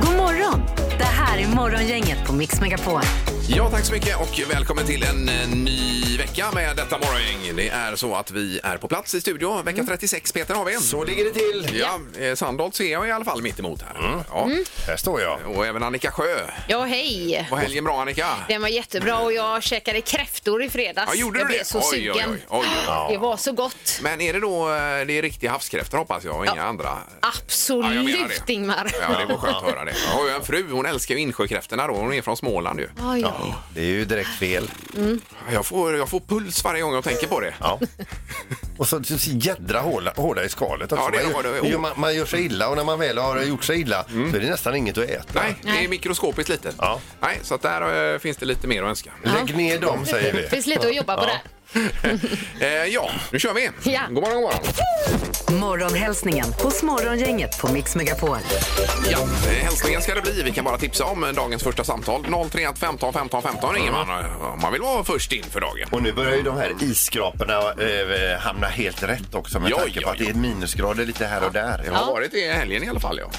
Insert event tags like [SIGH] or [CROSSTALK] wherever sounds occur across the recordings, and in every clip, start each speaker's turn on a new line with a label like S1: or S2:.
S1: God morgon! Det här är Morgongänget på Mix Megapol.
S2: Ja, tack så mycket och välkommen till en eh, ny vecka med detta morgongäng. Det är så att vi är på plats i studio. Vecka 36, Peter, har vi en. Så ligger det till. Ja, eh, Sandholt ser jag i alla fall mitt emot här. Ja.
S3: Här står jag.
S2: Och även Annika Sjö.
S4: Ja, hej!
S2: Var helgen bra, Annika?
S4: Den var jättebra och jag käkade kräftor i fredags.
S2: Ja, gjorde
S4: jag
S2: du
S4: blev
S2: det?
S4: så
S2: Oj, oj,
S4: sugen.
S2: oj, oj, oj.
S4: Det var så gott.
S2: Men är det då eh, det är riktiga havskräftor hoppas jag och inga andra? Ja, jag menar
S4: Absolut,
S2: det.
S4: Ingmar.
S2: Ja, det var skönt att höra det. Jag har ju en fru, hon älskar ju insjökräftorna då. Hon är från Småland ju.
S4: Oj, oj.
S3: Det är ju direkt fel.
S2: Jag får, jag får puls varje gång jag tänker på det.
S3: Ja. [LAUGHS] Och så, så jädra hårda, hårda i skalet också.
S2: Ja, det
S3: man,
S2: har
S3: gör,
S2: du.
S3: gör- man, man gör sig illa och när man väl har gjort sig illa så är det nästan inget att äta.
S2: Nej, det är
S4: Nej.
S2: mikroskopiskt litet.
S3: Ja.
S2: Nej, så att där eh, finns det lite mer att [LAUGHS] önska.
S3: Lägg ner dem säger
S1: [LAUGHS]
S3: vi.
S4: Det finns lite att jobba på där.
S2: Eh, ja, nu kör vi.
S4: Ja.
S2: God morgon, god morgon.
S1: Morgonhälsningen hos Morgongänget på Mix Megapol.
S2: Ja, eh, hälsningar ska det bli. Vi kan bara tipsa om eh, dagens första samtal. 031 15 15 15 ringer man eh, om man vill vara först in för dagen.
S3: Och nu börjar ju de här isskraporna eh, hamna helt rätt också med
S2: Ja,
S3: tanke
S2: ja,
S3: på att det är minusgrader lite här och där.
S2: Det har varit det i helgen i alla fall. Ja.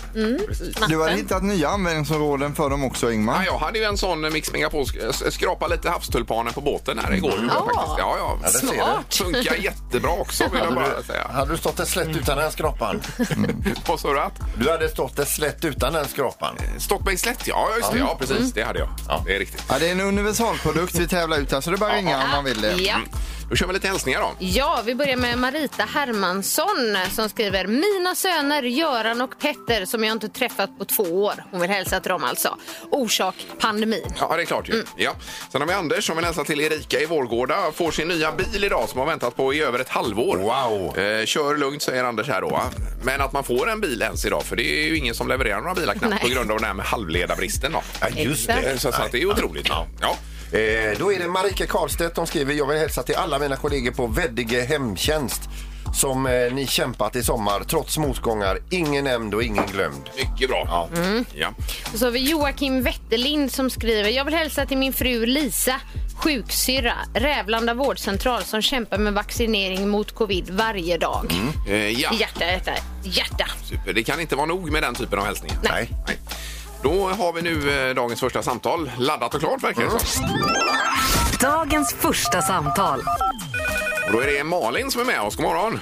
S2: Precis.
S5: Du har hittat nya användningsområden för dem också
S2: Ja,
S5: Ingmar.
S2: jag hade ju en sån eh, Mix Megapol, sk- s- skrapa lite havstulpaner på båten här igår. gjorde jag faktiskt. Ja, ja.
S3: där ser du. Smart.
S2: Funkar jättebra också vill jag bara säga.
S3: Hade du stått ett slätt utan den skrapan?
S2: Vad sa du? att?
S3: Du hade stått ett slätt utan den skrapan.
S2: Stockbergsslätt, ja just det. Ja, precis. Det hade jag.
S3: Ja.
S2: Det är riktigt.
S5: Ja, det är en universalprodukt vi tävlar ut här så det är bara att ringa om man vill eh, mm. det.
S4: Ja.
S2: Mm. Då kör vi lite hälsningar då.
S4: ja, vi börjar med Marita Hermansson som skriver Mina söner Göran och Petter som jag inte träffat på två år. Hon vill hälsa till dem alltså. Orsak pandemin.
S2: Ja, det är klart ju.
S4: Mm.
S2: Ja. Sen har vi Anders som vill hälsa till Erika i Vårgårda. Får sin nya bil idag som har väntat på i över ett halvår.
S3: Wow.
S2: Eh, kör lugnt säger Anders här då. va? Men att man får en bil ens idag för det är ju ingen som levererar några bilar knappt
S4: Nej.
S2: på grund av den här med halvledarbristen då.
S3: Ja, just
S4: Exakt.
S3: det.
S2: Eh, Så, så att det är otroligt. Ja. Ja.
S3: Eh, då är det Marika Karlstedt som skriver Jag vill hälsa till alla mina kollegor på Veddige hemtjänst som eh, ni kämpat i sommar trots motgångar. Ingen nämnd och ingen glömd.
S2: Mycket bra. Ja.
S4: Mm.
S2: Ja.
S4: Och så har vi Joakim Wetterlind som skriver Jag vill hälsa till min fru Lisa, sjuksyrra, Rävlanda vårdcentral som kämpar med vaccinering mot covid varje dag.
S2: Eh, ja.
S4: Hjärta, hjärta, hjärta.
S2: Super. Det kan inte vara nog med den typen av hälsningar.
S3: Nej.
S2: Nej. Då har vi nu eh, dagens första samtal. Laddat och klart verkar det
S3: Mm.
S2: som.
S1: Dagens första samtal.
S2: Och Då är det Malin som är med oss. God morgon!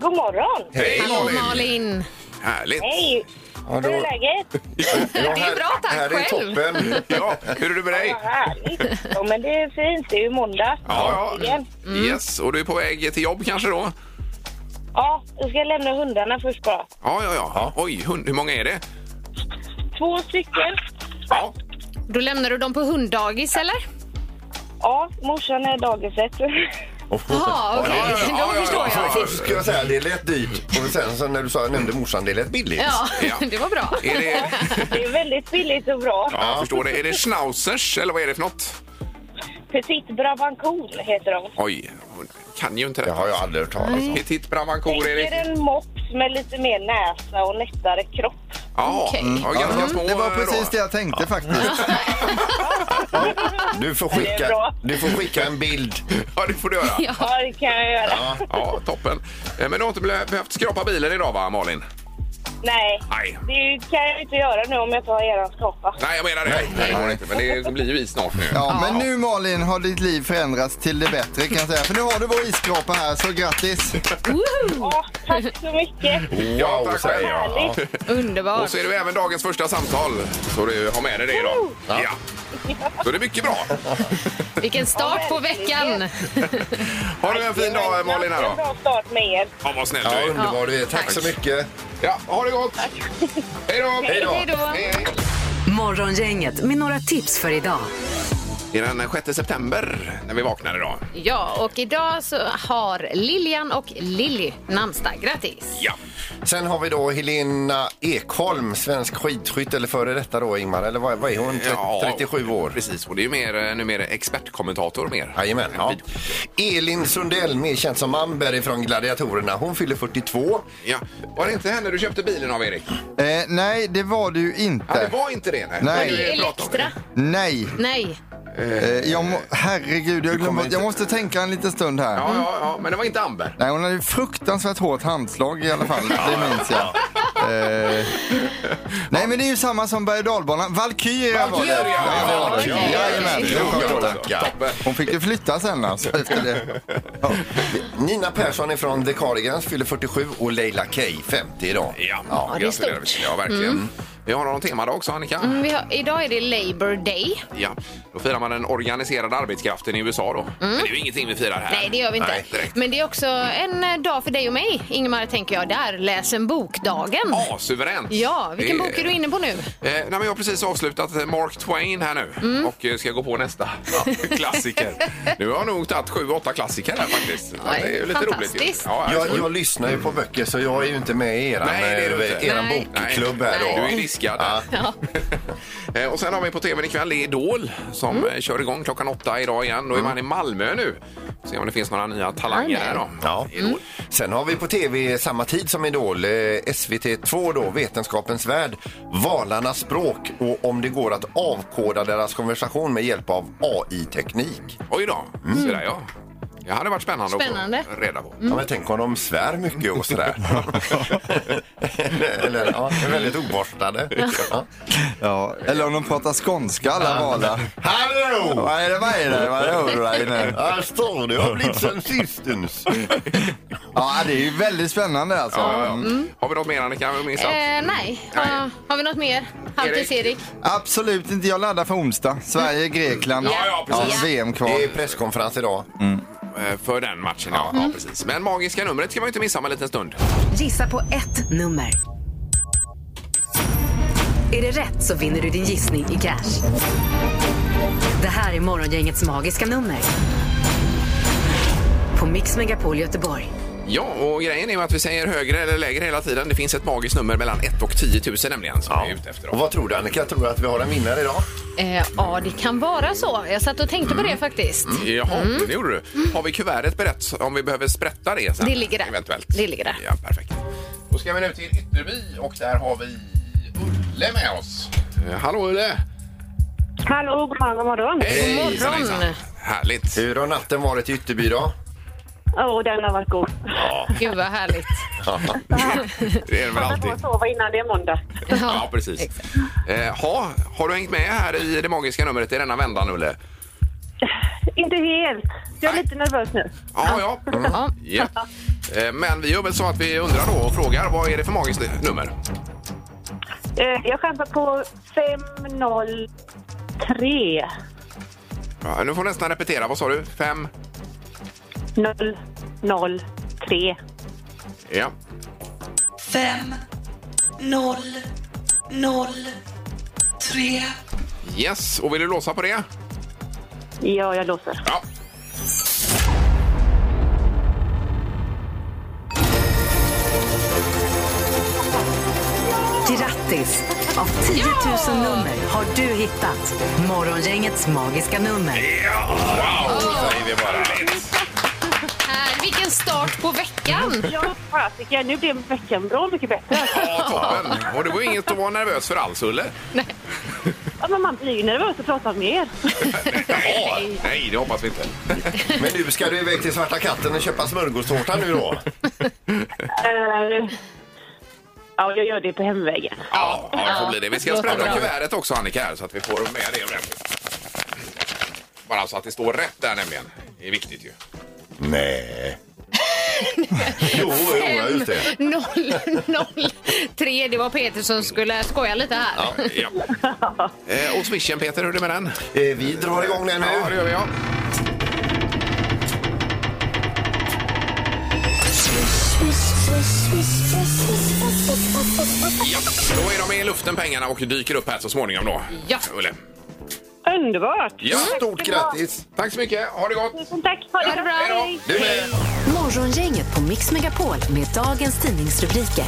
S6: God morgon!
S2: Hej
S4: Hallå Malin!
S2: Härligt!
S6: Hej!
S3: Ja, då-
S6: Hur är läget?
S3: Ja,
S4: Det är bra, tack
S3: Här är
S4: själv.
S3: toppen.
S2: Ja, hur är det med dig?
S6: Vad härligt! Ja, men det är fint. Det är ju måndag.
S2: Ja, ja.
S6: Igen.
S2: Yes, och du är på väg till jobb kanske då?
S6: Ja, jag ska lämna hundarna först bara.
S2: Ja, ja, ja. Oj, hund, hur många är det?
S6: Två stycken.
S2: Ja.
S4: Då lämnar du dem på hunddagis eller?
S6: Ja, morsan är dagiset.
S4: Jaha, okej.
S2: Ja, ja, ja,
S4: Då förstår
S2: ja,
S4: jag.
S2: ja,
S3: Först skulle jag säga det lät dyrt och sen så när du sa, nämnde morsan det lät billigt.
S4: Ja, [LAUGHS]
S2: Ja.
S4: det var bra.
S2: Är det,
S6: [LAUGHS] Det är väldigt billigt och bra.
S2: ja, jag förstår det. Är det schnauzers eller vad är det för något?
S6: Petit Bravancool heter de.
S2: Oj, hon kan ju inte
S3: Det
S2: det.
S3: har jag aldrig hört talas om.
S2: Petit bravancour är
S6: Det
S2: det.
S6: är en mops med lite mer näsa och nättare kropp.
S2: Ja,
S4: Okej.
S2: ja ganska små
S5: Mm, Det var
S2: eh,
S5: precis det
S2: då.
S5: jag tänkte faktiskt.
S3: Du får,
S6: Det är
S3: skicka,
S6: bra.
S3: du får skicka en bild.
S2: Ja, det får du göra.
S4: Ja.
S6: Ja, det kan jag göra.
S2: Ja, toppen. Eh, Men du har inte blä- behövt skrapa bilen idag va, Malin?
S6: Nej,
S2: Nej.
S6: det kan jag ju inte göra nu om jag tar eran skapa.
S2: Nej, jag menar det. Nej, det går inte. Men det blir ju is snart nu.
S5: Ja, men nu Malin har ditt liv förändrats till det bättre kan jag säga. För nu har du vår isskrapa här så grattis!
S4: Woho!
S6: Ja, tack så mycket.
S2: Ja, tack
S3: säger
S2: själv.
S3: jag. Ja.
S6: Härligt.
S2: Och
S4: Underbart.
S2: så är det även dagens första samtal. Så du har med dig det idag. Ja. Så det är mycket bra.
S4: Vilken start på veckan.
S2: Ha du en fin dag eh, Malin här
S6: Jag har en
S2: då.
S6: bra start med er.
S2: Ja, vad snäll du
S3: Ja,
S2: är.
S3: underbar du är. Tack så mycket.
S2: Ja, ha det gott. Hej då.
S3: Hej då.
S4: Hej då.
S2: Hej, hej.
S1: Morgongänget med några tips för idag.
S2: Det är den 6 september när vi vaknar idag.
S4: Ja, och idag så har Lilian och Lilly namnsdag. Grattis!
S2: Ja.
S3: Sen har vi då Helena Ekholm, svensk skidskytt, eller före detta då Ingmar, eller vad, vad är hon? Tre-
S2: Ja,
S3: 37 år?
S2: Precis, och det är ju mer, eh, numera expertkommentator mer.
S3: Jajamän. Ja. Elin Sundell, mer känd som Amber från Gladiatorerna, hon fyller 42.
S2: Ja. Var det inte henne du köpte bilen av, Erik?
S5: Eh, nej, det var det ju
S2: Ja, det
S5: inte.
S2: var inte det. Nej.
S5: Nej.
S2: Det var ju prat om det.
S4: Elektra?
S5: Nej.
S4: Nej.
S5: Eh, jag må, herregud, jag glömde. Jag måste tänka en liten stund här.
S2: Ja, ja, ja, men det var inte Amber.
S5: Nej, hon hade ju fruktansvärt hårt handslag i alla fall. Det minns jag. Eh, nej, men det är ju samma som berg och dalbanan. Valkyria var det. Ja, det var det.
S4: Okej.
S5: Jajamän, det var skönt.
S2: Toppen.
S5: Hon fick ju flytta sen alltså efter det.
S3: Nina Persson är från The Cardigans, fyller 47 och Leila Kay 50 idag.
S2: Ja,
S4: det är
S2: gratulerar
S4: stort.
S2: vi. Ja, verkligen. Vi har någon temadag också, Annika.
S4: Mm, vi har, idag är det Labour Day.
S2: Ja, då firar man den organiserade arbetskraften i USA då. Men det är ju ingenting vi firar här.
S4: Mm. Nej, det gör vi inte.
S2: Nej, direkt.
S4: Men det är också en eh, dag för dig och mig, Ingemar, tänker jag. Det är Läs en bok-dagen.
S2: Ah, suveränt!
S4: Ja, vilken
S2: Det-
S4: bok är du inne på nu?
S2: Eh, nej, men jag har precis avslutat eh, Mark Twain här nu
S4: Mm.
S2: och eh, ska gå på nästa
S4: [LAUGHS]
S2: klassiker. Nu har jag nog tagit sju, åtta klassiker här faktiskt. Ja, det är ju lite roligt.
S4: fantastiskt.
S2: ju. Ja,
S3: Jag,
S2: alltså.
S3: jag lyssnar ju på böcker så jag är ju inte med i eran,
S2: Nej, det är du
S3: eh,
S2: inte.
S3: eran
S4: Nej.
S3: bokklubb här
S2: Nej,
S3: då.
S2: Du är diskad.
S4: Ja.
S2: [LAUGHS] Eh, och sen har vi på tvn ikväll det är Idol som eh, kör igång klockan åtta idag igen. Då är man i Malmö nu. Se om det finns några nya talanger där då.
S3: Ja.
S2: Idol.
S3: Sen har vi på tv samma tid som Idol, eh, SVT2 då, Vetenskapens värld, Valarnas språk och om det går att avkoda deras konversation med hjälp av AI-teknik.
S2: Oj då, så där ja. Det hade varit spännande,
S4: Spännande.
S2: att få reda på.
S3: Ja, men tänk om de svär mycket och [LAUGHS] sådär. Eller, ja, är väldigt oborstade. Ja.
S5: Ja, eller om de pratar skånska alla valar.
S3: Hallå!
S5: Vad är det, vad är det, vad är det där inne?
S3: Här står du och blitzen sistens.
S5: Ja, det är ju väldigt spännande alltså.
S2: Ja, ja, ja. Har vi något mer Annika? Vi minns allt.
S4: Eh, nej. Har, har vi något mer? Halvtids Erik?
S5: Absolut inte. Jag laddar för onsdag. Sverige, Grekland.
S4: Ja, ja, precis.
S5: VM-kval.
S3: Det är presskonferens idag.
S2: Eh, För den matchen, ja. ja precis. Men magiska numret ska man ju inte missa om en liten stund.
S1: Gissa på ett nummer. Är det rätt så vinner du din gissning i cash. Det här är Morgongängets magiska nummer. På Mix Megapol Göteborg.
S2: Ja, och grejen är ju att vi säger högre eller lägre hela tiden. Det finns ett magiskt nummer mellan 1 och 10 000 nämligen som vi är ute efter.
S3: Och
S2: Då.
S3: vad tror du Annika? Tror du att vi har en vinnare idag?
S4: Eh, ja, det kan vara så. Jag satt och tänkte
S2: Mm.
S4: på det faktiskt.
S2: Jaha,
S4: Mm.
S2: det gjorde du. Har vi kuvertet berett om vi behöver sprätta det sen?
S4: Det ligger där.
S2: Eventuellt.
S4: Det ligger där.
S2: Ja, perfekt. Då ska vi nu till Ytterby och där har vi Ulle med oss. Eh, Hallå Ulle!
S6: Hallå, god morgon, god morgon.
S2: Hej,
S4: morgon.
S2: hejsan, hejsan. Härligt!
S3: Hur har natten varit i Ytterby då?
S6: Åh, oh, den har varit god.
S4: Gud vad härligt.
S2: Det är det väl
S6: Jag
S2: alltid.
S6: får sova innan det är måndag.
S2: Ja, precis. Eh, ha, har du hängt med här i det magiska numret i denna vändan, Ulle?
S6: Inte helt. Jag är lite nervös nu.
S2: Ja, ja. Mm.
S4: Ja.
S2: ja. Eh, Men vi gör väl så att vi undrar då och frågar vad är det för magiskt nummer?
S6: Eh, Jag chansar på 503.
S2: Ja, nu får du nästan repetera. Vad sa du? Fem?
S6: 003.
S2: Ja.
S7: Fem, noll, noll, tre.
S2: Yes, och vill du låsa på det?
S6: Ja, jag låser.
S2: Ja.
S1: Grattis! Av 10 000 nummer har du hittat Morgongängets magiska nummer.
S2: Wow, säger vi bara.
S4: Här, Eh, vilken start på veckan.
S6: Ja, fasiken. Nu blev veckan bra mycket bättre.
S2: Ja, toppen. Och det var inget att vara nervös för alls, Ulle?
S6: Ja, men man blir ju nervös att prata med er.
S2: Ja, nej, det hoppas vi inte.
S3: Men nu ska du iväg till Svarta katten och köpa smörgåstårta nu då.
S6: Eh, Ja, jag gör det på hemvägen.
S2: Ja, ja det får bli det. Vi ska sprätta kuvertet också, Annika, här, så att vi får med det ordentligt. Bara så att det står rätt där nämligen. Det är viktigt ju.
S3: Nej. jo, jo, ja, just det.
S4: Noll, noll, tre. Det var Peter som skulle skoja lite här.
S2: Ja. Eh, Och swishen, Peter, hur är det med den?
S3: Eh, Vi drar igång den
S2: Ja, det
S3: nu.
S2: gör vi, ja. Ja, då är de i luften pengarna och dyker upp här så småningom då.
S4: Ja.
S2: Ulle.
S6: Eh, Underbart!
S2: Ja,
S3: Stort grattis!
S2: Tack så mycket. Ha det gott.
S6: Tusen tack! Ha det bra! Hej.
S2: Du med.
S1: Morgongänget på Mix Megapol med dagens tidningsrubriker.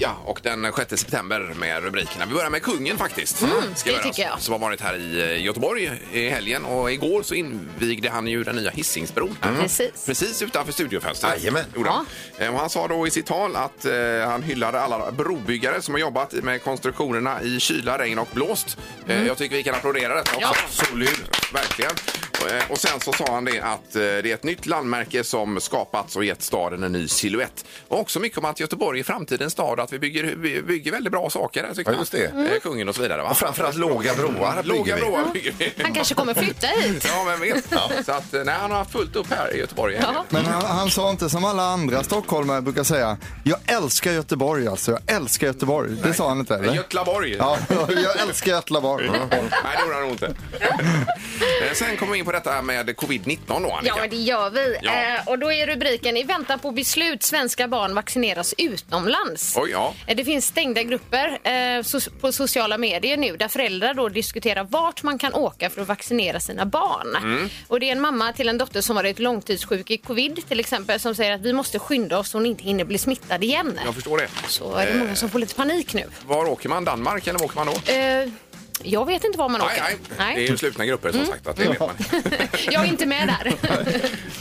S2: Ja, och den 6 september med rubrikerna. Vi börjar med kungen faktiskt. Ska
S4: Mm, det
S2: göra,
S4: tycker jag.
S2: Som har varit här i eh, Göteborg i helgen och igår så invigde han ju den nya Hisingsbron.
S4: Precis.
S2: Precis utanför studiofönstret.
S3: Jajamän.
S2: Gjorde han. Eh, Och han sa då i sitt tal att eh, han hyllade alla brobyggare som har jobbat med konstruktionerna i kyla, regn och blåst. Eh, Jag tycker vi kan applådera detta också.
S4: Ja.
S2: Absolut. Verkligen. Och, eh, Och sen så sa han det att eh, det är ett nytt landmärke som skapats och gett staden en ny silhuett. Och också mycket om att Göteborg är framtidens stad och att vi bygger, by- bygger väldigt bra saker. här, tyckte
S3: Ja, just
S2: han.
S3: det.
S2: Eh, Kungen och så vidare. Va?
S3: Och framförallt låga broar bygger
S2: Låga
S3: vi.
S2: broar bygger vi.
S4: Han kanske kommer flytta hit.
S2: Ja, vem vet. Så att, eh, nej, han har haft fullt upp här i Göteborg. i helgen.
S5: Men han, han sa inte som alla andra stockholmare brukar säga. Jag älskar Göteborg alltså. Jag älskar Göteborg. Det sa han inte eller?
S2: Götlaborg.
S5: Ja, [LAUGHS] jag älskar Götlaborg.
S2: Nej, det gjorde han nog inte. Eh, Sen kommer vi in på detta med covid-19 då, Annika.
S4: Ja, men det gör vi.
S2: Ja.
S4: Eh, och då är rubriken I väntan på beslut, svenska barn vaccineras utomlands.
S2: Oj, ja.
S4: Eh, Det finns stängda grupper eh, so- på sociala medier nu där föräldrar då diskuterar vart man kan åka för att vaccinera sina barn.
S2: Mm.
S4: Och det är en mamma till en dotter som varit långtidssjuk i covid till exempel som säger att vi måste skynda oss så hon inte hinner bli smittad igen.
S2: Jag förstår det.
S4: Så är det många som får lite panik nu.
S2: Var åker man? Danmark eller var åker man då?
S4: Eh, jag vet inte var man åker.
S2: Nej, nej. Det är ju slutna grupper
S4: Mm.
S2: som sagt. Att det vet man.
S4: [LAUGHS] Jag är inte med
S2: [LAUGHS]
S4: där.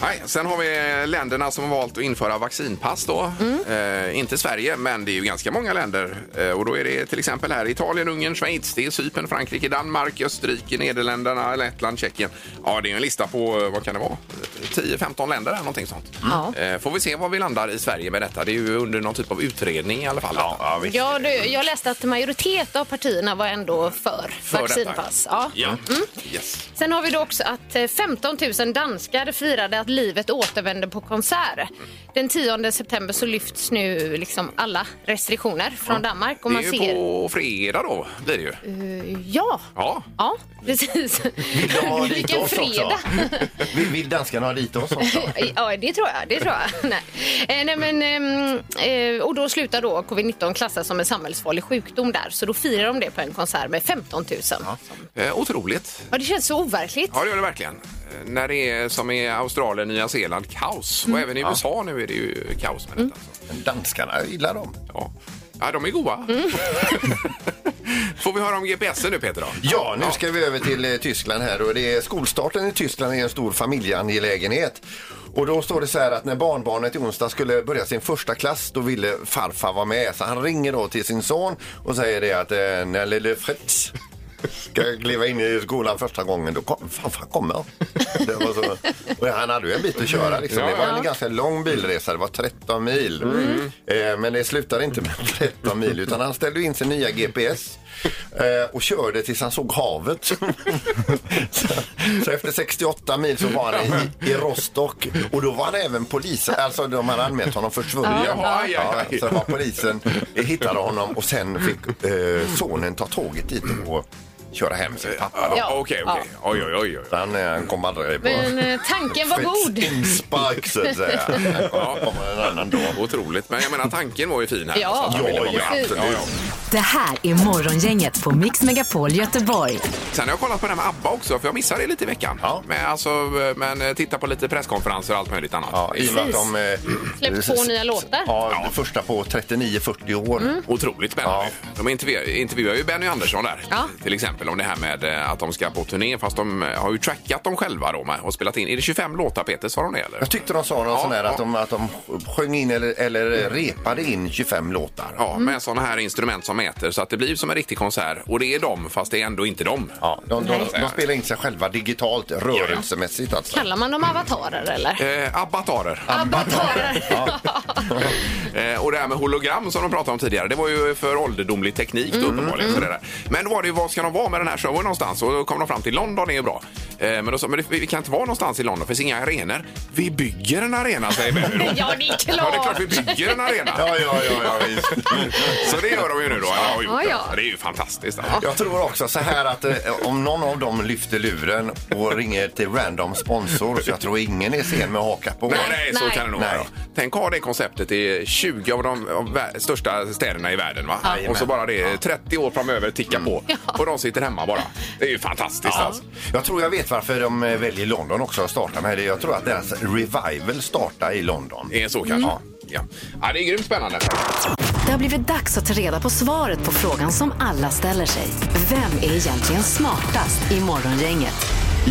S2: Nej, sen har vi länderna som har valt att införa vaccinpass då.
S4: Mm.
S2: Eh, inte Sverige, men det är ju ganska många länder. Eh, och då är det till exempel här Italien, Ungern, Schweiz, det är Cypern, Frankrike, Danmark, Österrike, Nederländerna, Lettland, Tjeckien. Ja, det är ju en lista på, eh, vad kan det vara, 10-15 länder eller någonting sånt.
S4: Mm. Ja.
S2: Eh, får vi se var vi landar i Sverige med detta. Det är ju under någon typ av utredning i alla fall. detta.
S4: Ja, du, jag läste att majoritet av partierna var ändå för,
S2: För detta.
S4: vaccinpass. Ja. Mm.
S2: Ja. Yes.
S4: Sen har vi då också att eh, 15 000 danskar firade att livet återvänder på konsert. Den 10 september så lyfts nu liksom alla restriktioner från Danmark. Och
S2: Det
S4: man
S2: är ju
S4: ser...
S2: på fredag då, blir det ju.
S4: Ja.
S2: Ja.
S4: Ja, precis.
S3: Ja, dit
S4: Vilken
S3: oss också.
S4: fredag!
S3: Vill, vill danskarna ha dit oss också?
S4: Ja, det tror jag. Det tror jag. Nej. Eh, nej, men, ehm, eh, och då slutar då covid-19 klassas som en samhällsfarlig sjukdom där. Så då firar de det på en konsert med 15 000. Ja,
S2: Eh, otroligt.
S4: det känns så overkligt.
S2: Ja, det gör det verkligen. Eh, När det är som i Australien, Nya Zeeland, kaos. Och även i USA nu är det ju kaos med detta. alltså.
S3: Men Danskarna jag gillar dem.
S2: Ja. ja, de är goa. [LAUGHS] Får vi höra om GPSen nu, Peter? Då?
S3: Ja, nu ska vi över till eh, Tyskland här och det är skolstarten i Tyskland är en stor familjeangelägenhet. Och då står det så här att när barnbarnet i onsdag skulle börja sin första klass då ville farfar vara med. Så han ringer då till sin son och säger det att eh, när lille Fritz ska kliva in i skolan första gången då kom, farfar kommer. Det var så, och han hade ju en bit att köra liksom. Det var en ganska lång bilresa, det var 13 mil. Eh, men det slutade inte med [LAUGHS] 13 mil utan han ställde in sin nya GPS eh, och körde tills han såg havet. [LAUGHS] så, så efter 68 mil så var han i, i Rostock och då var han även polis, alltså de hade anmält honom försvunnen.
S2: Jaha, aj, aj, aj.
S3: Ja, så var polisen eh, hittade honom och sen fick eh, sonen ta tåget dit och köra hem sin pappa.
S2: Ja,
S4: Ja.
S2: Okej, okej. Oj, oj, oj. oj.
S3: Han, eh, han kom aldrig på
S4: Men eh, tanken var god.
S3: Fritz inspark så att säga. Han kom- kommer en annan dag.
S2: Otroligt. Men jag menar, tanken var ju fin här.
S4: Ja.
S2: Så att han ville vara
S3: Ja,
S2: med.
S4: absolut.
S1: Det här är Morgongänget på Mix Megapol Göteborg.
S2: Sen har jag kollat på det här med ABBA också, för jag missade det lite i veckan.
S3: Ja.
S2: Men, alltså, men eh, titta på lite presskonferenser och allt möjligt annat.
S3: Ja, I och med att de... eh,
S4: Släppt två
S3: s-
S4: nya låtar. Mm.
S3: Ja, den första på 39-40 år.
S2: Otroligt spännande. De intervjuar, intervjuar ju Benny Andersson där.
S4: Ja.
S2: Till exempel om det här med eh, att de ska på turné fast de eh, har ju trackat dem själva då med, och spelat in. Är det 25 låtar Peter? Sa de det eller?
S3: Jag tyckte de sa någon
S2: Ja,
S3: sån här att,
S2: ja.
S3: de, att de sjöng in eller, eller repade in 25 låtar.
S2: Ja, med sådana här instrument som mäter så att det blir som en riktig konsert. Och det är dem fast det är ändå inte dem.
S3: Ja, de, de, de spelar in sig själva digitalt, rörelsemässigt alltså.
S4: Kallar man dem avatarer eller?
S2: Eh, abbatarer.
S4: Avatarer.
S2: Eh, och det här med hologram som de pratade om tidigare, det var ju för ålderdomlig
S4: Mm,
S2: teknik då, uppenbarligen. För det där. Men då var det ju, vad ska de vara med den här showen någonstans? Och då kom de fram till London är ju bra. Eh, Men då sa men det- vi vi kan inte vara någonstans i London, för det finns inga arenor. Vi bygger en arena, säger Benny då.
S4: [LAUGHS] Ja, det är klart.
S2: Ja, det är klart vi bygger en arena.
S3: Ja, ja, ja, ja, visst.
S2: Så det gör de ju nu då. Eller har
S4: Ja,
S2: gjort
S4: ja.
S2: det. Det är ju fantastiskt.
S3: Jag tror också så här att eh, om någon av dem lyfter luren och ringer till random sponsor så jag tror ingen är sen med att haka på.
S2: Nej, nej, så
S4: Nej.
S2: kan det nog
S3: Nej.
S2: vara. Tänk ha det konceptet i 20 av de av vär- största städerna i världen. Va? Och så bara det 30 år framöver tickar på
S8: Mm.
S2: och de sitter hemma bara. Det är ju fantastiskt alltså.
S3: Jag tror jag vet varför de eh, väljer London också att starta med det. Jag tror att deras revival startar i London.
S2: Det är så kanske.
S8: Mm.
S2: Ja. ja, det är grymt spännande.
S1: Det har blivit dags att ta reda på svaret på frågan som alla ställer sig. Vem är egentligen smartast i Morgongänget?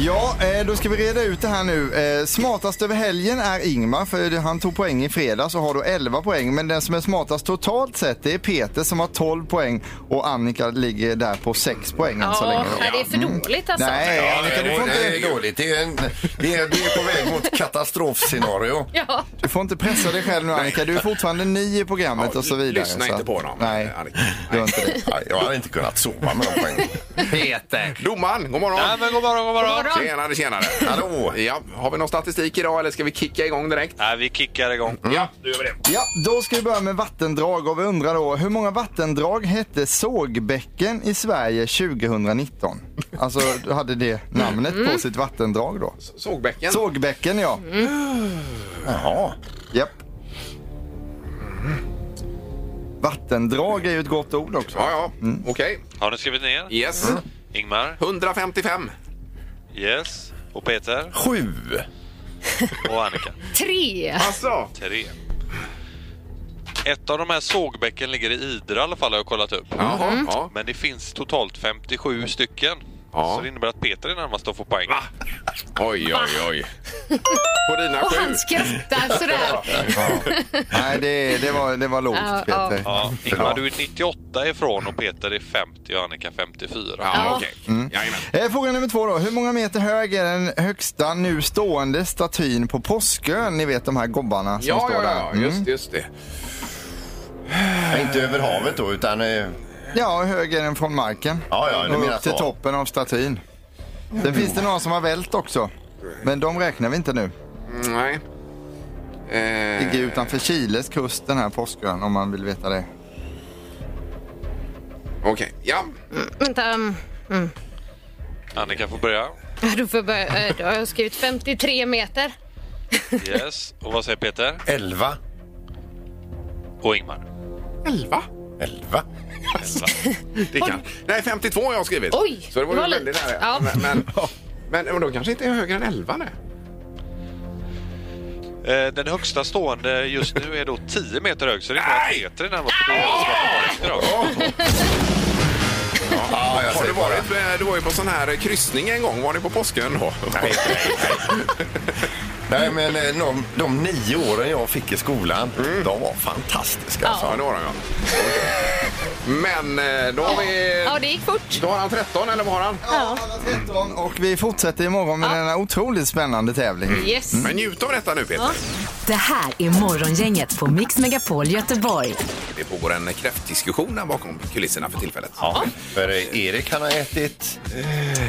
S5: Ja, eh, då ska vi reda ut det här nu. Eh, Smartast över helgen är Ingmar, för det- han tog poäng i fredags och har då 11 poäng. Men den som är smartast totalt sett, det är Peter som har 12 poäng och Annika ligger där på 6 poäng
S4: [LAUGHS]
S5: än så
S4: Ja,
S5: länge.
S4: nej, det är för dåligt alltså.
S5: Nej, Annika, du får
S3: Det är
S5: inte,
S3: dåligt. Det är, en, det är, det är på väg mot katastrofscenario.
S4: Ja.
S5: du får inte pressa dig själv nu Annika. Du är fortfarande ny i programmet
S2: Ja,
S5: och så vidare.
S2: lyssna
S5: så
S2: inte
S5: att-
S2: på honom,
S5: Nej,
S2: Annika.
S5: gör inte det.
S3: Nej, Jag hade inte kunnat sova med de poängen.
S5: [LAUGHS] Peter!
S2: Domaren, god morgon!
S8: men god morgon, god morgon.
S5: [LAUGHS]
S2: Tjenare, tjenare!
S3: Hallå.
S2: Ja, har vi någon statistik idag eller ska vi kicka igång direkt?
S8: Nej, vi kickar igång.
S2: Ja, nu gör vi det.
S5: Ja, då ska vi börja med vattendrag och vi undrar då hur många vattendrag hette sågbäcken i Sverige 2019? Alltså hade det namnet
S2: Mm.
S5: på sitt vattendrag då.
S2: Sågbäcken.
S5: Sågbäcken ja.
S2: Mm.
S3: Jaha.
S5: Japp. Vattendrag är ju ett gott ord också.
S2: Ja, ja,
S5: Mm.
S2: okej.
S8: Har ni skrivit ner?
S2: Yes.
S8: Ingmar?
S2: 155.
S8: Yes. Och Peter?
S3: Sju.
S8: Och Annika?
S4: Tre.
S2: Alltså.
S8: Tre. Ett av de här sågbäcken ligger i Idre i alla fall har jag kollat upp.
S2: Jaha, ja.
S8: Men det finns totalt 57 stycken.
S2: Ja.
S8: Så det innebär att Peter är närmast att få poäng.
S2: Oj, oj, oj. På dina
S4: Och
S2: sju.
S4: han skrattar sådär.
S5: Nej, det, det, var, det var
S4: Ja,
S5: lågt
S4: ja.
S5: Peter.
S8: Ja, Ingmar, du är 98 ifrån och Peter är 50 och Annika 54.
S2: Ja, okej.
S3: Mm.
S2: Jajamän.
S5: Eh, Fråga nummer två då. Hur många meter hög är den högsta nu stående statyn på Påskön? Ni vet de här gobbarna som
S2: Ja,
S5: står
S2: ja,
S5: där. Mm.
S2: ja,
S3: Mm.
S2: just, just det.
S3: Ja, Inte över havet då, utan... eh,
S5: Ja, höger än från marken.
S3: Ja, ja, du
S5: och
S3: menar
S5: upp till
S3: så.
S5: toppen av statyn. Sen finns det några som har vält också. Men de räknar vi inte nu.
S2: Mm, Nej. Eh,
S5: Ligger utanför Chiles kust den här Påskön om man vill veta det.
S2: Eh, Okej, ja.
S4: Vänta. um,
S8: Annika får börja.
S4: Då, får jag börja. Eh, då har jag skrivit 53 meter.
S8: Yes. Och vad säger Peter?
S3: Elva.
S8: Och Ingmar?
S2: Elva?
S3: Elva.
S8: Elva.
S2: Det kan. Nej, 52 har jag skrivit.
S4: Oj,
S2: Så det var,
S4: det
S2: ju
S4: var
S2: väldigt
S4: lite.
S2: nära.
S4: Ja.
S2: Men, men, men och då kanske inte är högre än 11 nej.
S8: Eh, Den högsta stående just nu är då 10 meter hög, så det alltså är bara
S2: Nej!
S8: Peter i den här måste bli ansvarig för det.
S3: Ja, jag
S2: Har du
S3: säger bara...
S2: varit, eh, du var ju på sån här kryssning en gång. Var ni på påskön då? [LAUGHS] Nej.
S3: Nej, men eh, de, de nio åren jag fick i skolan,
S8: Mm.
S3: de var fantastiska. Alltså.
S2: Ja, det var de ja.
S4: [LAUGHS]
S2: Men eh, då har vi...
S4: Ja, det gick fort.
S2: Då har han 13 eller vad har han?
S5: Ja, alla 13 och vi fortsätter imorgon med denna otroligt spännande tävling.
S2: Mm.
S4: Yes.
S2: Men njut av detta nu Peter.
S1: Det här är Morgongänget på Mix Megapol Göteborg.
S2: Det pågår en kräftdiskussion där bakom kulisserna för tillfället.
S3: För eh, Erik han har ätit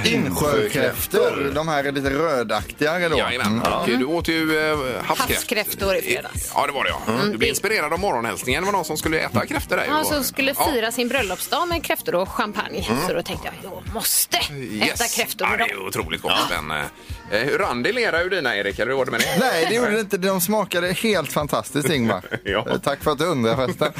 S5: Insjökräftor, de här är lite rödaktigare då. Mm.
S2: Jajamän. Och Du åt ju eh, havskräft.
S4: Havskräftor i fredags.
S2: Ja, det var det. Ja. Du blev inspirerad av morgonhälsningen. Det var någon som skulle äta kräftor där.
S4: Han
S2: Och-
S4: som skulle
S2: Ja. Mm.
S4: fira sin bröllopsdag med kräftor och champagne. Så då tänkte jag, jag måste äta
S2: Yes.
S4: kräftor
S2: Ja,
S4: med
S2: det är
S4: dem.
S2: otroligt gott. Men, eh, hur rann det i lera ur dina, Erik? Eller hur var det med det?
S5: Nej, det gjorde det inte. De smakade helt fantastiskt, Ingvar.
S2: [LAUGHS] Ja.
S5: Eh, Tack för att du undrar
S2: [LAUGHS]
S5: förresten.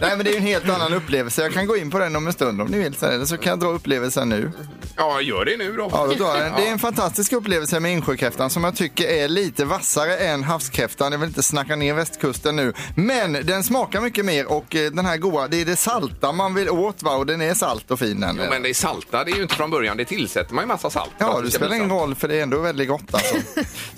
S5: Nej, men det är ju en helt annan upplevelse. Jag kan gå in på den om en stund om ni vill. så här, Eller så kan jag dra upplevelsen nu.
S2: Ja, gör det nu då.
S5: Ja, då tar jag den. Det är en fantastisk upplevelse med insjökräftan som jag tycker är lite vassare än havskräftan. Jag vill inte snacka ner västkusten nu. Men den smakar mycket mer och eh, den här goa, det är det salta man vill åt va? Och den är salt och fin den.
S2: Jo, men det är salta. Det är ju inte från början. Det tillsätter man ju massa salt. för
S5: Ja,
S2: att
S5: det
S2: ska bli
S5: spelar ingen
S2: salt.
S5: roll för det är ändå väldigt gott alltså.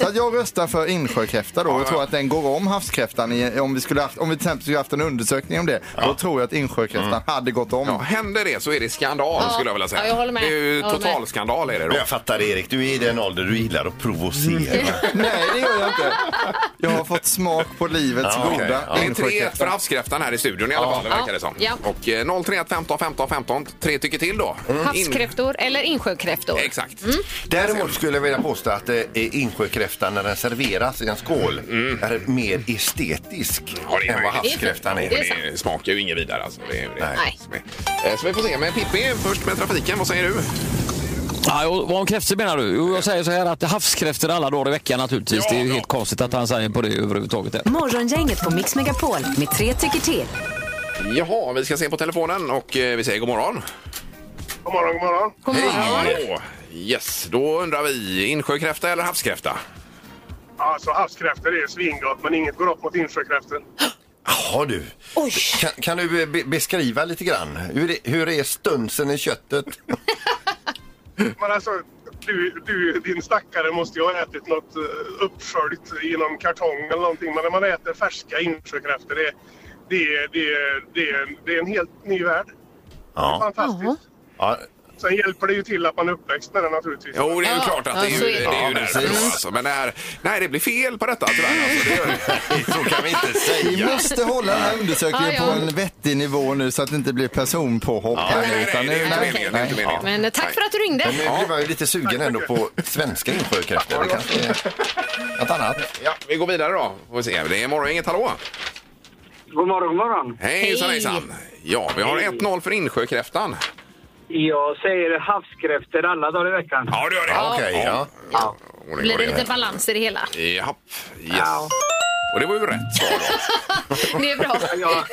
S5: Så att jag röstar för insjökräfta då.
S2: Ja,
S5: jag tror tror att den går om havskräftan. I, om, vi skulle haft, om vi till exempel skulle haft en undersökning om det, då tror jag att insjökräftan hade gått om.
S2: Mm. Ja, händer det så är det skandal
S4: Ja.
S2: skulle jag vilja säga.
S4: Ja, jag håller med.
S2: Det är ju
S4: Jag håller med.
S2: totalskandal är det då.
S3: Jag fattar Erik, du är i den ålder du gillar att provocera.
S5: Nej, det gör jag inte. Jag har fått smak på livets
S3: Ja, okej.
S5: goda
S3: Ja.
S2: Det är 3-1 för
S5: insjökräfta.
S2: havskräftan här i studion i alla fall, verkar det som.
S4: Ja.
S2: Och eh, 031 15 15 15, tre tycker till då.
S4: Mm.
S2: In-
S4: Havskräftor eller insjökräftor.
S2: Exakt.
S3: Däremot skulle jag vilja påstå att eh, insjökräftan när den serveras i en skål är mer estetisk
S2: Ja, det är
S3: än vad
S2: möjligt.
S3: havskräftan är.
S4: Det är sant.
S2: Det smakar ju inget vidare alltså. Det, är- det, är-
S4: Nej.
S2: Eh, Så vi får se. Men Pippi, först med trafiken, vad säger du?
S9: Ja, och vad om kräftor menar du? Jo, jag säger så här att kräftor alla dagar i veckan naturligtvis.
S2: Ja,
S9: det är ju
S2: ja.
S9: helt konstigt att han säger på det överhuvudtaget. Där.
S1: Morgongänget på Mix Megapol med tre tycker till.
S2: Jaha, vi ska se på telefonen och eh, vi säger god morgon.
S10: God morgon, god morgon.
S4: God morgon.
S2: Hallå. Yes, då undrar vi insjökräfta eller havskräfta?
S10: Alltså havskräftor är ju svingott, men inget går upp mot insjökräftor.
S3: Jaha du. Kan, kan du eh, be beskriva lite grann? Hur är, hur är stunsen i köttet?
S10: [LAUGHS] Men alltså, du, du, din stackare måste ju ha ätit något eh, uppsköljt i någon kartong eller någonting. Men när man äter färska insjökräftor, det, det, det, det, det är en helt ny värld.
S3: Ja.
S10: Fantastiskt.
S3: ja.
S10: Sen hjälper det ju till att man är uppväxt med det naturligtvis.
S2: Jo, det är ju
S4: Ja,
S2: klart att det är ju,
S4: ja, så är
S2: det
S4: det.
S2: är ju
S3: Ja,
S2: därför.
S3: precis.
S2: då, Alltså. Men det här, nej, det blir fel på detta tyvärr. Alltså, det gör det.
S3: Så kan vi inte
S5: Vi
S3: säga.
S5: måste hålla den här undersökningen
S4: Ja, ja.
S5: på en vettig nivå nu så att det inte blir personpåhopp. här,
S3: nej,
S2: Nej, nej,
S5: utan
S2: det är
S5: nu-
S2: inte
S5: nej,
S2: meningen. Det är
S5: nej.
S2: inte meningen.
S4: Men eh, tack för att du ringde.
S3: Men nu blir man ju lite sugen ändå på svenska insjökräftor. Det kanske är något annat.
S2: Ja, vi går vidare då. Får vi se. Det är morgon, inget hallå.
S10: God morgon, god morgon.
S2: Hej, hejsan,
S4: Hej.
S2: hejsan. Ja, vi har 1-0 för insjökräftan.
S10: Jag säger havskräftor alla dagar i veckan.
S2: Ja, du gör det.
S3: Ja, Okej, ja.
S2: Ordning och
S4: Blir det
S2: reda.
S4: lite balans i det hela?
S2: Japp, yes. Och det var ju rätt svar då.
S4: Det är
S2: [LAUGHS]
S4: bra.
S10: Jag,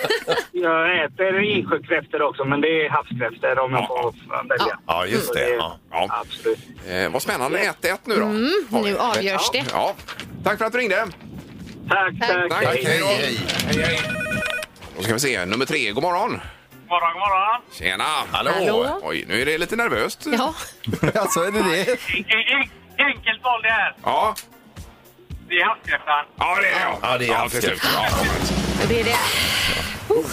S10: jag äter insjökräftor också, men det är havskräftor om jag får välja.
S3: Ja, just det. Ja.
S2: Ja.
S10: Absolut.
S2: Eh, vad spännande. 1-1 nu då. Har vi.
S4: Mm, Nu avgörs det.
S2: Ja. Tack för att du ringde.
S10: Tack, tack.
S2: Tack.
S3: Tack, hej,
S2: då.
S3: hej.
S2: Hej, hej. Då ska vi se. Nummer tre, god morgon.
S10: morgon,
S3: [LAUGHS]
S10: morgon.
S2: Tjena!
S4: Hallå.
S2: Oj, nu är det lite nervöst.
S4: Ja.
S5: Alltså är det det?
S10: Enkelt val det här.
S2: Ja,
S10: Det är havskräftan.
S2: ja det är jag.
S3: Ja, det är jag.
S2: till slut. Ja.
S4: Det är det. Oh,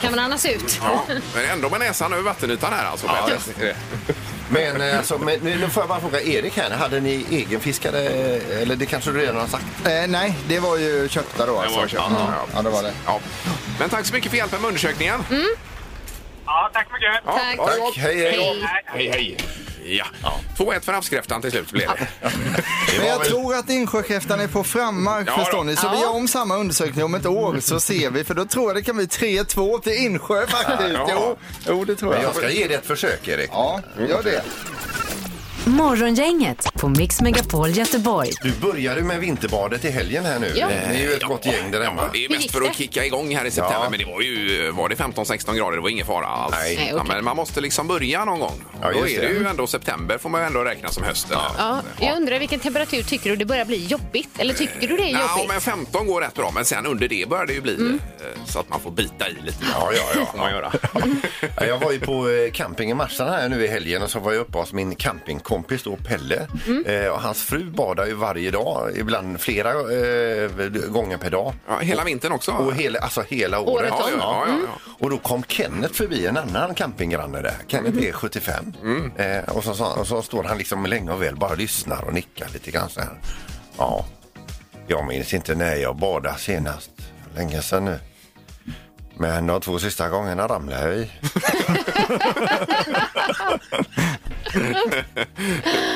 S4: Kan man andas ut?
S2: Ja. Men ändå med näsan över vattenytan här alltså.
S3: Ja,
S2: Ja,
S3: det- Men, eh, alltså, men nu nu får jag bara fråga Erik här. Hade ni egenfiskade? eh, Eller det kanske du redan har sagt?
S5: Eh, nej, det var ju köpta då alltså.
S2: var köpta, ja.
S5: ja. ja, det var det.
S2: ja. Men tack så mycket för hjälpen med undersökningen.
S3: Mm.
S10: Ja, tack så mycket.
S2: Ja,
S4: Tack.
S2: ha det gott.
S3: Hej, hej.
S4: Hej.
S2: Hej, hej. Ja. 2-1 för havskräftan till slut blev det.
S5: Men jag tror att insjökräftan är på frammarsch
S2: Ja, då.
S5: förstår ni. Så vi
S4: Ja.
S5: gör om samma undersökning om ett år så ser vi. För då tror jag det kan bli 3-2 till Insjö faktiskt.
S2: Ja.
S5: Jo, jo, det tror
S3: Men
S5: jag.
S3: jag ska ge det ett försök, Erik.
S5: Ja, gör det.
S1: Morgongänget på Mix Megapol Göteborg.
S3: Du började med vinterbadet i helgen här nu.
S4: Ja.
S3: Ni är ju ett gott gäng där hemma.
S2: [LAUGHS] Det är
S4: Hur
S2: mest
S4: gick
S2: för
S4: det?
S2: att kicka igång här i september,
S3: Ja.
S2: men det var ju var det 15-16 grader, det var ingen fara alls.
S3: Nej.
S4: Nej,
S2: ja,
S4: okej.
S2: men man måste liksom börja någon gång.
S3: Ja,
S2: Då
S3: just
S2: är det
S3: det.
S2: ju ändå september, får man ju ändå räkna som hösten.
S4: Ja, jag undrar vilken temperatur tycker du det börjar bli jobbigt? Eller tycker du det är
S2: Ja, men
S4: jobbigt? Mm.
S2: 15 går rätt bra, men sen under det börjar det ju bli eh, så att man får bita i lite.
S3: Ja, ja, ja.
S2: Får man göra.
S3: Ja, Jag var ju på eh, camping i Marsan här nu i helgen och så var jag uppe hos min campingkompis då, Pelle. Eh, och hans fru badar ju varje dag, ibland flera eh, gånger per dag.
S2: Ja, hela vintern också.
S3: Och hela, alltså hela året.
S4: Året om.
S2: ja, ja, ja, ja, ja.
S3: Och då kom Kenneth förbi, en annan campinggranne där. Kenneth är 75. Eh, och, så, sa- och så står han liksom länge och väl bara lyssnar och nickar lite grann så här. Ja, jag minns inte när jag badade senast. Länge sedan nu. Men de två sista gångerna ramlade jag i.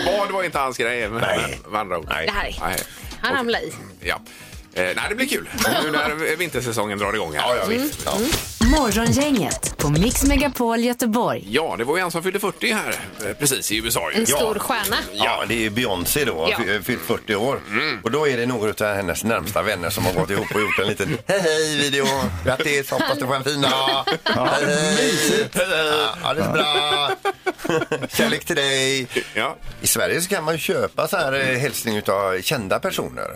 S2: Bad var inte hans grej. men-
S3: Nej.
S2: med andra ord.
S3: Nej.
S4: Mm. Nej. Han ramlade i.
S2: Ja. Eh, nej, det blir kul nu när vintersäsongen drar igång. Här. Mm.
S3: Ja, ja, visst. Ja.
S1: Morgongänget på Mix Megapol Göteborg.
S2: Ja, det var ju en som fyllde 40 här eh, precis i USA. ju.
S4: En stor stjärna.
S3: Ja, Mm. det är ju Beyoncé då,
S4: Ja.
S3: fy- fyllt 40 år. Och då är det några av hennes närmsta vänner som har gått ihop och gjort en liten [LAUGHS] hej hej-video. Grattis, hoppas du får en fin dag. Hej hej! Ja, det är bra. [LAUGHS] Kärlek till dig. I Sverige så kan man ju köpa så här mm. hälsning av kända personer.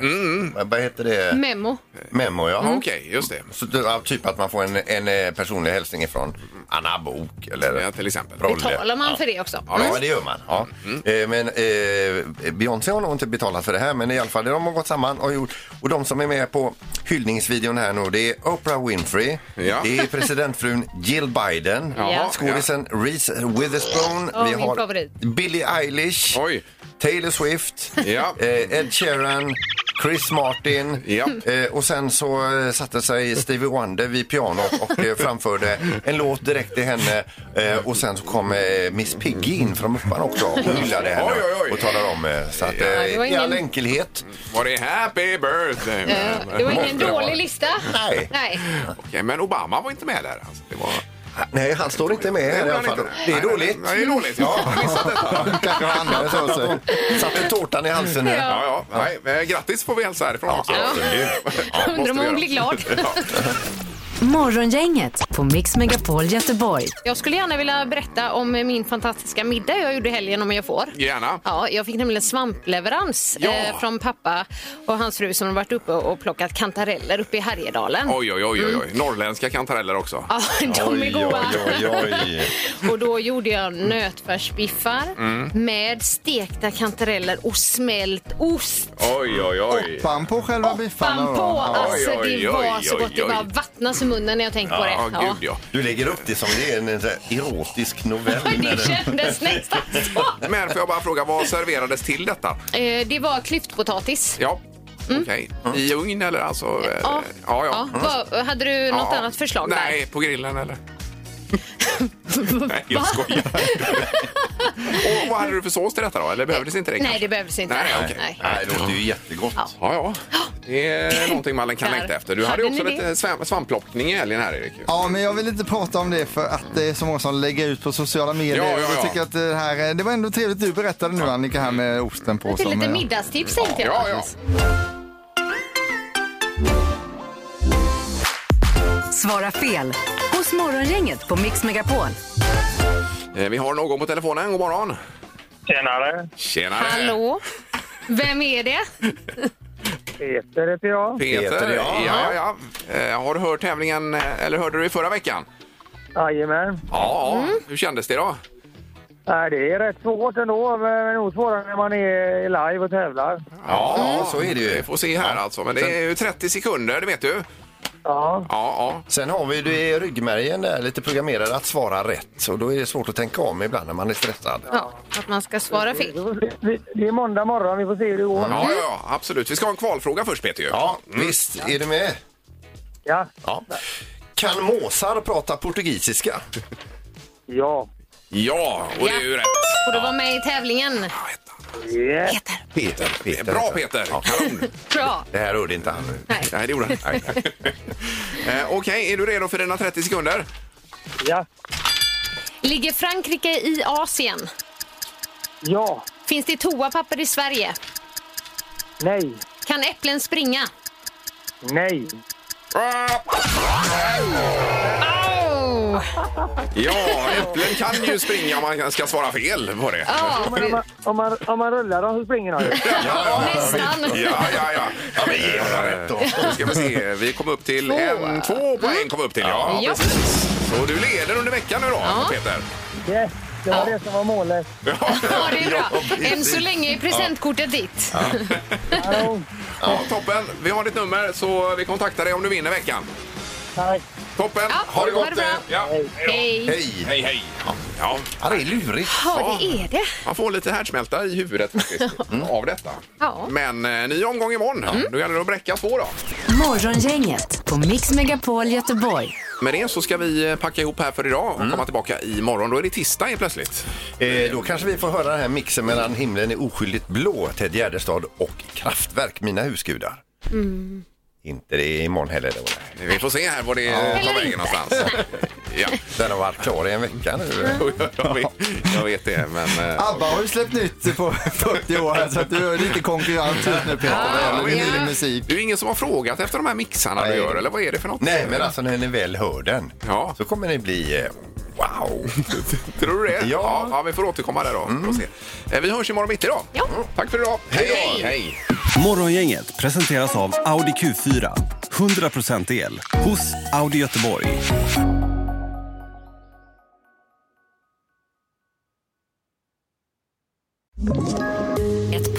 S3: Vad- Vad heter det?
S4: Memo.
S3: Memo, ja.
S4: Mm.
S2: Okej, just det.
S3: Så, ja, typ att man får en, en eh, personlig hälsning ifrån Anna Bok eller
S2: ja, till exempel.
S4: Betalar man för det också?
S2: Mm.
S3: Ja, det gör man. Ja. Eh, Men eh, Beyoncé har nog inte betalat för det här, men i alla fall de har gått samman och gjort. Och de som är med på hyllningsvideon här nu, det är Oprah Winfrey,
S2: Ja.
S3: det är presidentfrun Jill Biden,
S2: Ja.
S3: skådisen Reese Witherspoon,
S4: Åh,
S3: vi
S4: min
S3: har
S4: favorit.
S3: Billie Eilish, Taylor Swift, eh, Ed Sheeran, Chris Martin eh, och sen så eh, satte sig Stevie Wonder vid pianot och eh, framförde en låt direkt till henne eh, och sen så kom eh, Miss Piggy in från Mupparna också och hyllade henne
S2: Oj, oj, oj.
S3: och talade om eh, så att,
S2: Ja,
S4: det var
S3: eh, i all
S4: ingen-
S3: enkelhet.
S2: Var det happy birthday?
S4: Eh, Det var ingen
S2: Måste det vara.
S4: dålig lista.
S3: Nej.
S4: Nej.
S2: Okej, men Obama var inte med där alltså. Det var...
S3: Nej, han står inte med här i alla fall. Det är dåligt.
S2: Nej, det är
S3: [LAUGHS]
S2: dåligt. Ja, jag har missat detta.
S3: Kanske har annat för sig. Satte tårtan i halsen här.
S2: Ja, ja. Nej, men grattis får vi hälsa härifrån
S4: [LAUGHS]
S2: också.
S3: absolut.
S2: Ja,
S4: Undrar om
S2: måste vi
S4: hon
S2: göra.
S4: blir glad.
S2: Ja.
S1: Morgongänget på Mix Megapol Göteborg.
S4: Jag skulle gärna vilja berätta om min fantastiska middag jag gjorde i helgen om jag får.
S2: Gärna.
S4: Ja, jag fick nämligen svampleverans
S2: Ja.
S4: eh, från pappa och hans fru som har varit uppe och plockat kantareller uppe i Härjedalen.
S2: Oj, oj, oj, oj, oj. Norrländska kantareller också.
S4: Mm. Ja, de är goda.
S2: Oj, oj,
S4: [LAUGHS]
S2: oj.
S4: Och då gjorde jag nötfärsbiffar
S2: Mm.
S4: med stekta kantareller och smält ost.
S2: Oj, oj, oj.
S5: Oppan på själva biffarna
S4: Fan
S5: då?
S4: på! Alltså
S3: Oj, oj,
S4: det var
S3: oj,
S4: så
S3: oj,
S4: gott. Det
S3: oj.
S4: bara vattnas i munnen när jag tänker på det. Ja.
S3: Du lägger upp det som det är en så här erotisk novell.
S4: Det kändes nästan så.
S2: Men får jag bara fråga, vad serverades till detta?
S4: Eh, Det var klyftpotatis.
S2: Ja, okej. I ugn eller alltså? eh,
S4: Mm. Ja.
S2: ja.
S4: Ja,
S2: Mm.
S4: vad- hade du något
S2: Ja.
S4: annat förslag [LAUGHS]
S2: Nej,
S4: där?
S2: på grillen eller? Nej, jag skojar. [LAUGHS] och vad hade du för sås till detta då? Eller behövdes inte det?
S4: Nej,
S2: kanske?
S4: det behövdes inte.
S2: Nej, okej.
S4: Nej.
S3: det låter ju jättegott.
S2: Ja, ja. Det är någonting man kan
S4: Där.
S2: längta efter. Du hade
S4: Hade
S2: ju också
S4: ni det?
S2: lite svamp- svampplockning i helgen här, Erik.
S5: Ja, men jag vill inte prata om det för att det är så många som lägger ut på sociala medier.
S2: Ja, ja,
S5: Och
S2: ja.
S5: Jag tycker att det, här, är- det var ändå trevligt du berättade nu Annika här med osten på.
S4: Till
S5: som,
S4: lite
S5: eh,
S4: middagstips tänkte jag.
S5: Ja, ja.
S1: Svara fel hos Morgongänget på Mix Megapol.
S2: Eh, Vi har någon på telefonen. God morgon. Tjenare. Tjenare.
S4: Hallå? Vem är det?
S2: Peter heter jag. Peter,
S11: Peter,
S2: ja.
S11: ja.
S2: ja, ja, Eh, Har du hört tävlingen, eh, eller hörde du i förra veckan?
S11: Jajamän.
S2: Ja,
S4: Mm.
S2: hur kändes det då?
S11: Nej, det är rätt svårt ändå, men nog svårare när man är live och tävlar.
S2: Ja, så är det ju. Vi får se här alltså. Men det är ju 30 sekunder, det vet du.
S11: Ja.
S2: ja,
S3: Sen har vi ju det i ryggmärgen där, lite programmerade att svara rätt. Och då är det svårt att tänka om ibland när man är stressad.
S4: Ja, att man ska svara fel.
S11: Det är måndag morgon, vi får se hur det går.
S4: Mm.
S2: Ja, ja, ja, absolut. Vi ska ha en kvalfråga först, Peter. ju.
S3: Ja, visst. Är du med?
S11: Ja.
S3: ja. Kan måsar prata portugisiska?
S11: Ja.
S2: Ja, och det är ju rätt.
S4: Får du vara med i tävlingen?
S3: Peter. Peter. Peter.
S2: Bra, Peter. Kanon.
S4: Bra.
S3: Det här hörde inte han nu.
S4: Nej.
S2: Nej, det gjorde han inte. [LAUGHS] Eh, Okej, är du redo för dina 30 sekunder?
S11: Ja.
S4: Ligger Frankrike i Asien?
S11: Ja.
S4: Finns det toapapper i Sverige?
S11: Nej.
S4: Kan äpplen springa?
S11: Nej.
S4: Oh!
S2: Ja, äpplen kan ju springa om man ska svara fel på det.
S11: Om, man- om, man, om, man, om man rullar dem så springer de ju.
S2: Nästan. Ja, ja, ja. ja men ge honom rätt då. Nu ska vi se. Vi kom upp till en, två poäng kom vi upp till. Ja,
S11: Ja.
S2: precis. Så du leder under veckan nu då, Peter.
S11: Yes, det var det som var målet.
S4: Ja, det är
S2: [LAUGHS]
S4: bra. Än så länge är presentkortet ditt.
S2: Ja, toppen. Vi har ditt nummer så vi kontaktar dig om du vinner veckan.
S11: Tack.
S2: Toppen.
S4: ha det bra.
S2: Ja.
S4: Hej.
S2: Hej. Hej, hej. Ja.
S3: Ja, det är lurigt.
S4: Ja, det är det.
S2: Man får lite härdsmälta i
S4: [LAUGHS]
S2: huvudet faktiskt av detta.
S4: Ja. Mm.
S2: Men eh, ny omgång imorgon. Då gäller det att bräcka två då.
S1: Morgongänget på Mix Megapol Göteborg.
S2: Med det så ska vi eh, packa ihop här för idag och komma tillbaka imorgon. Då är det tisdag helt plötsligt.
S3: Eh, då kanske vi får höra den här mixen mellan himlen är oskyldigt blå, Ted Gärdestad och Kraftwerk, mina husgudar. Inte det är imorgon heller. Då.
S2: Vi får se här var det tar vägen någonstans. Ja. [LAUGHS]
S3: Den har varit klar i en vecka nu.
S2: Mm. jag, vet, jag vet det, men... eh,
S5: ABBA har ju släppt nytt på [LAUGHS] 40 år här, så att du är lite konkurrens ut nu Peter.
S4: Ah,
S2: Ja,
S5: vad gäller
S2: ja.
S5: ny musik.
S2: Det är ju ingen som har frågat efter de här mixarna du gör, eller vad är det för något?
S3: Nej, men alltså när ni väl hör den så kommer ni bli eh,
S2: Wow! Tror du det? Ja. ja. Vi får återkomma där då. Får se. Eh, Vi hörs imorgon mitt idag. Ja. Tack för idag. Hej då! Hej!
S12: Morgongänget presenteras av Audi Q4. 100% el hos Audi Göteborg.
S13: Ett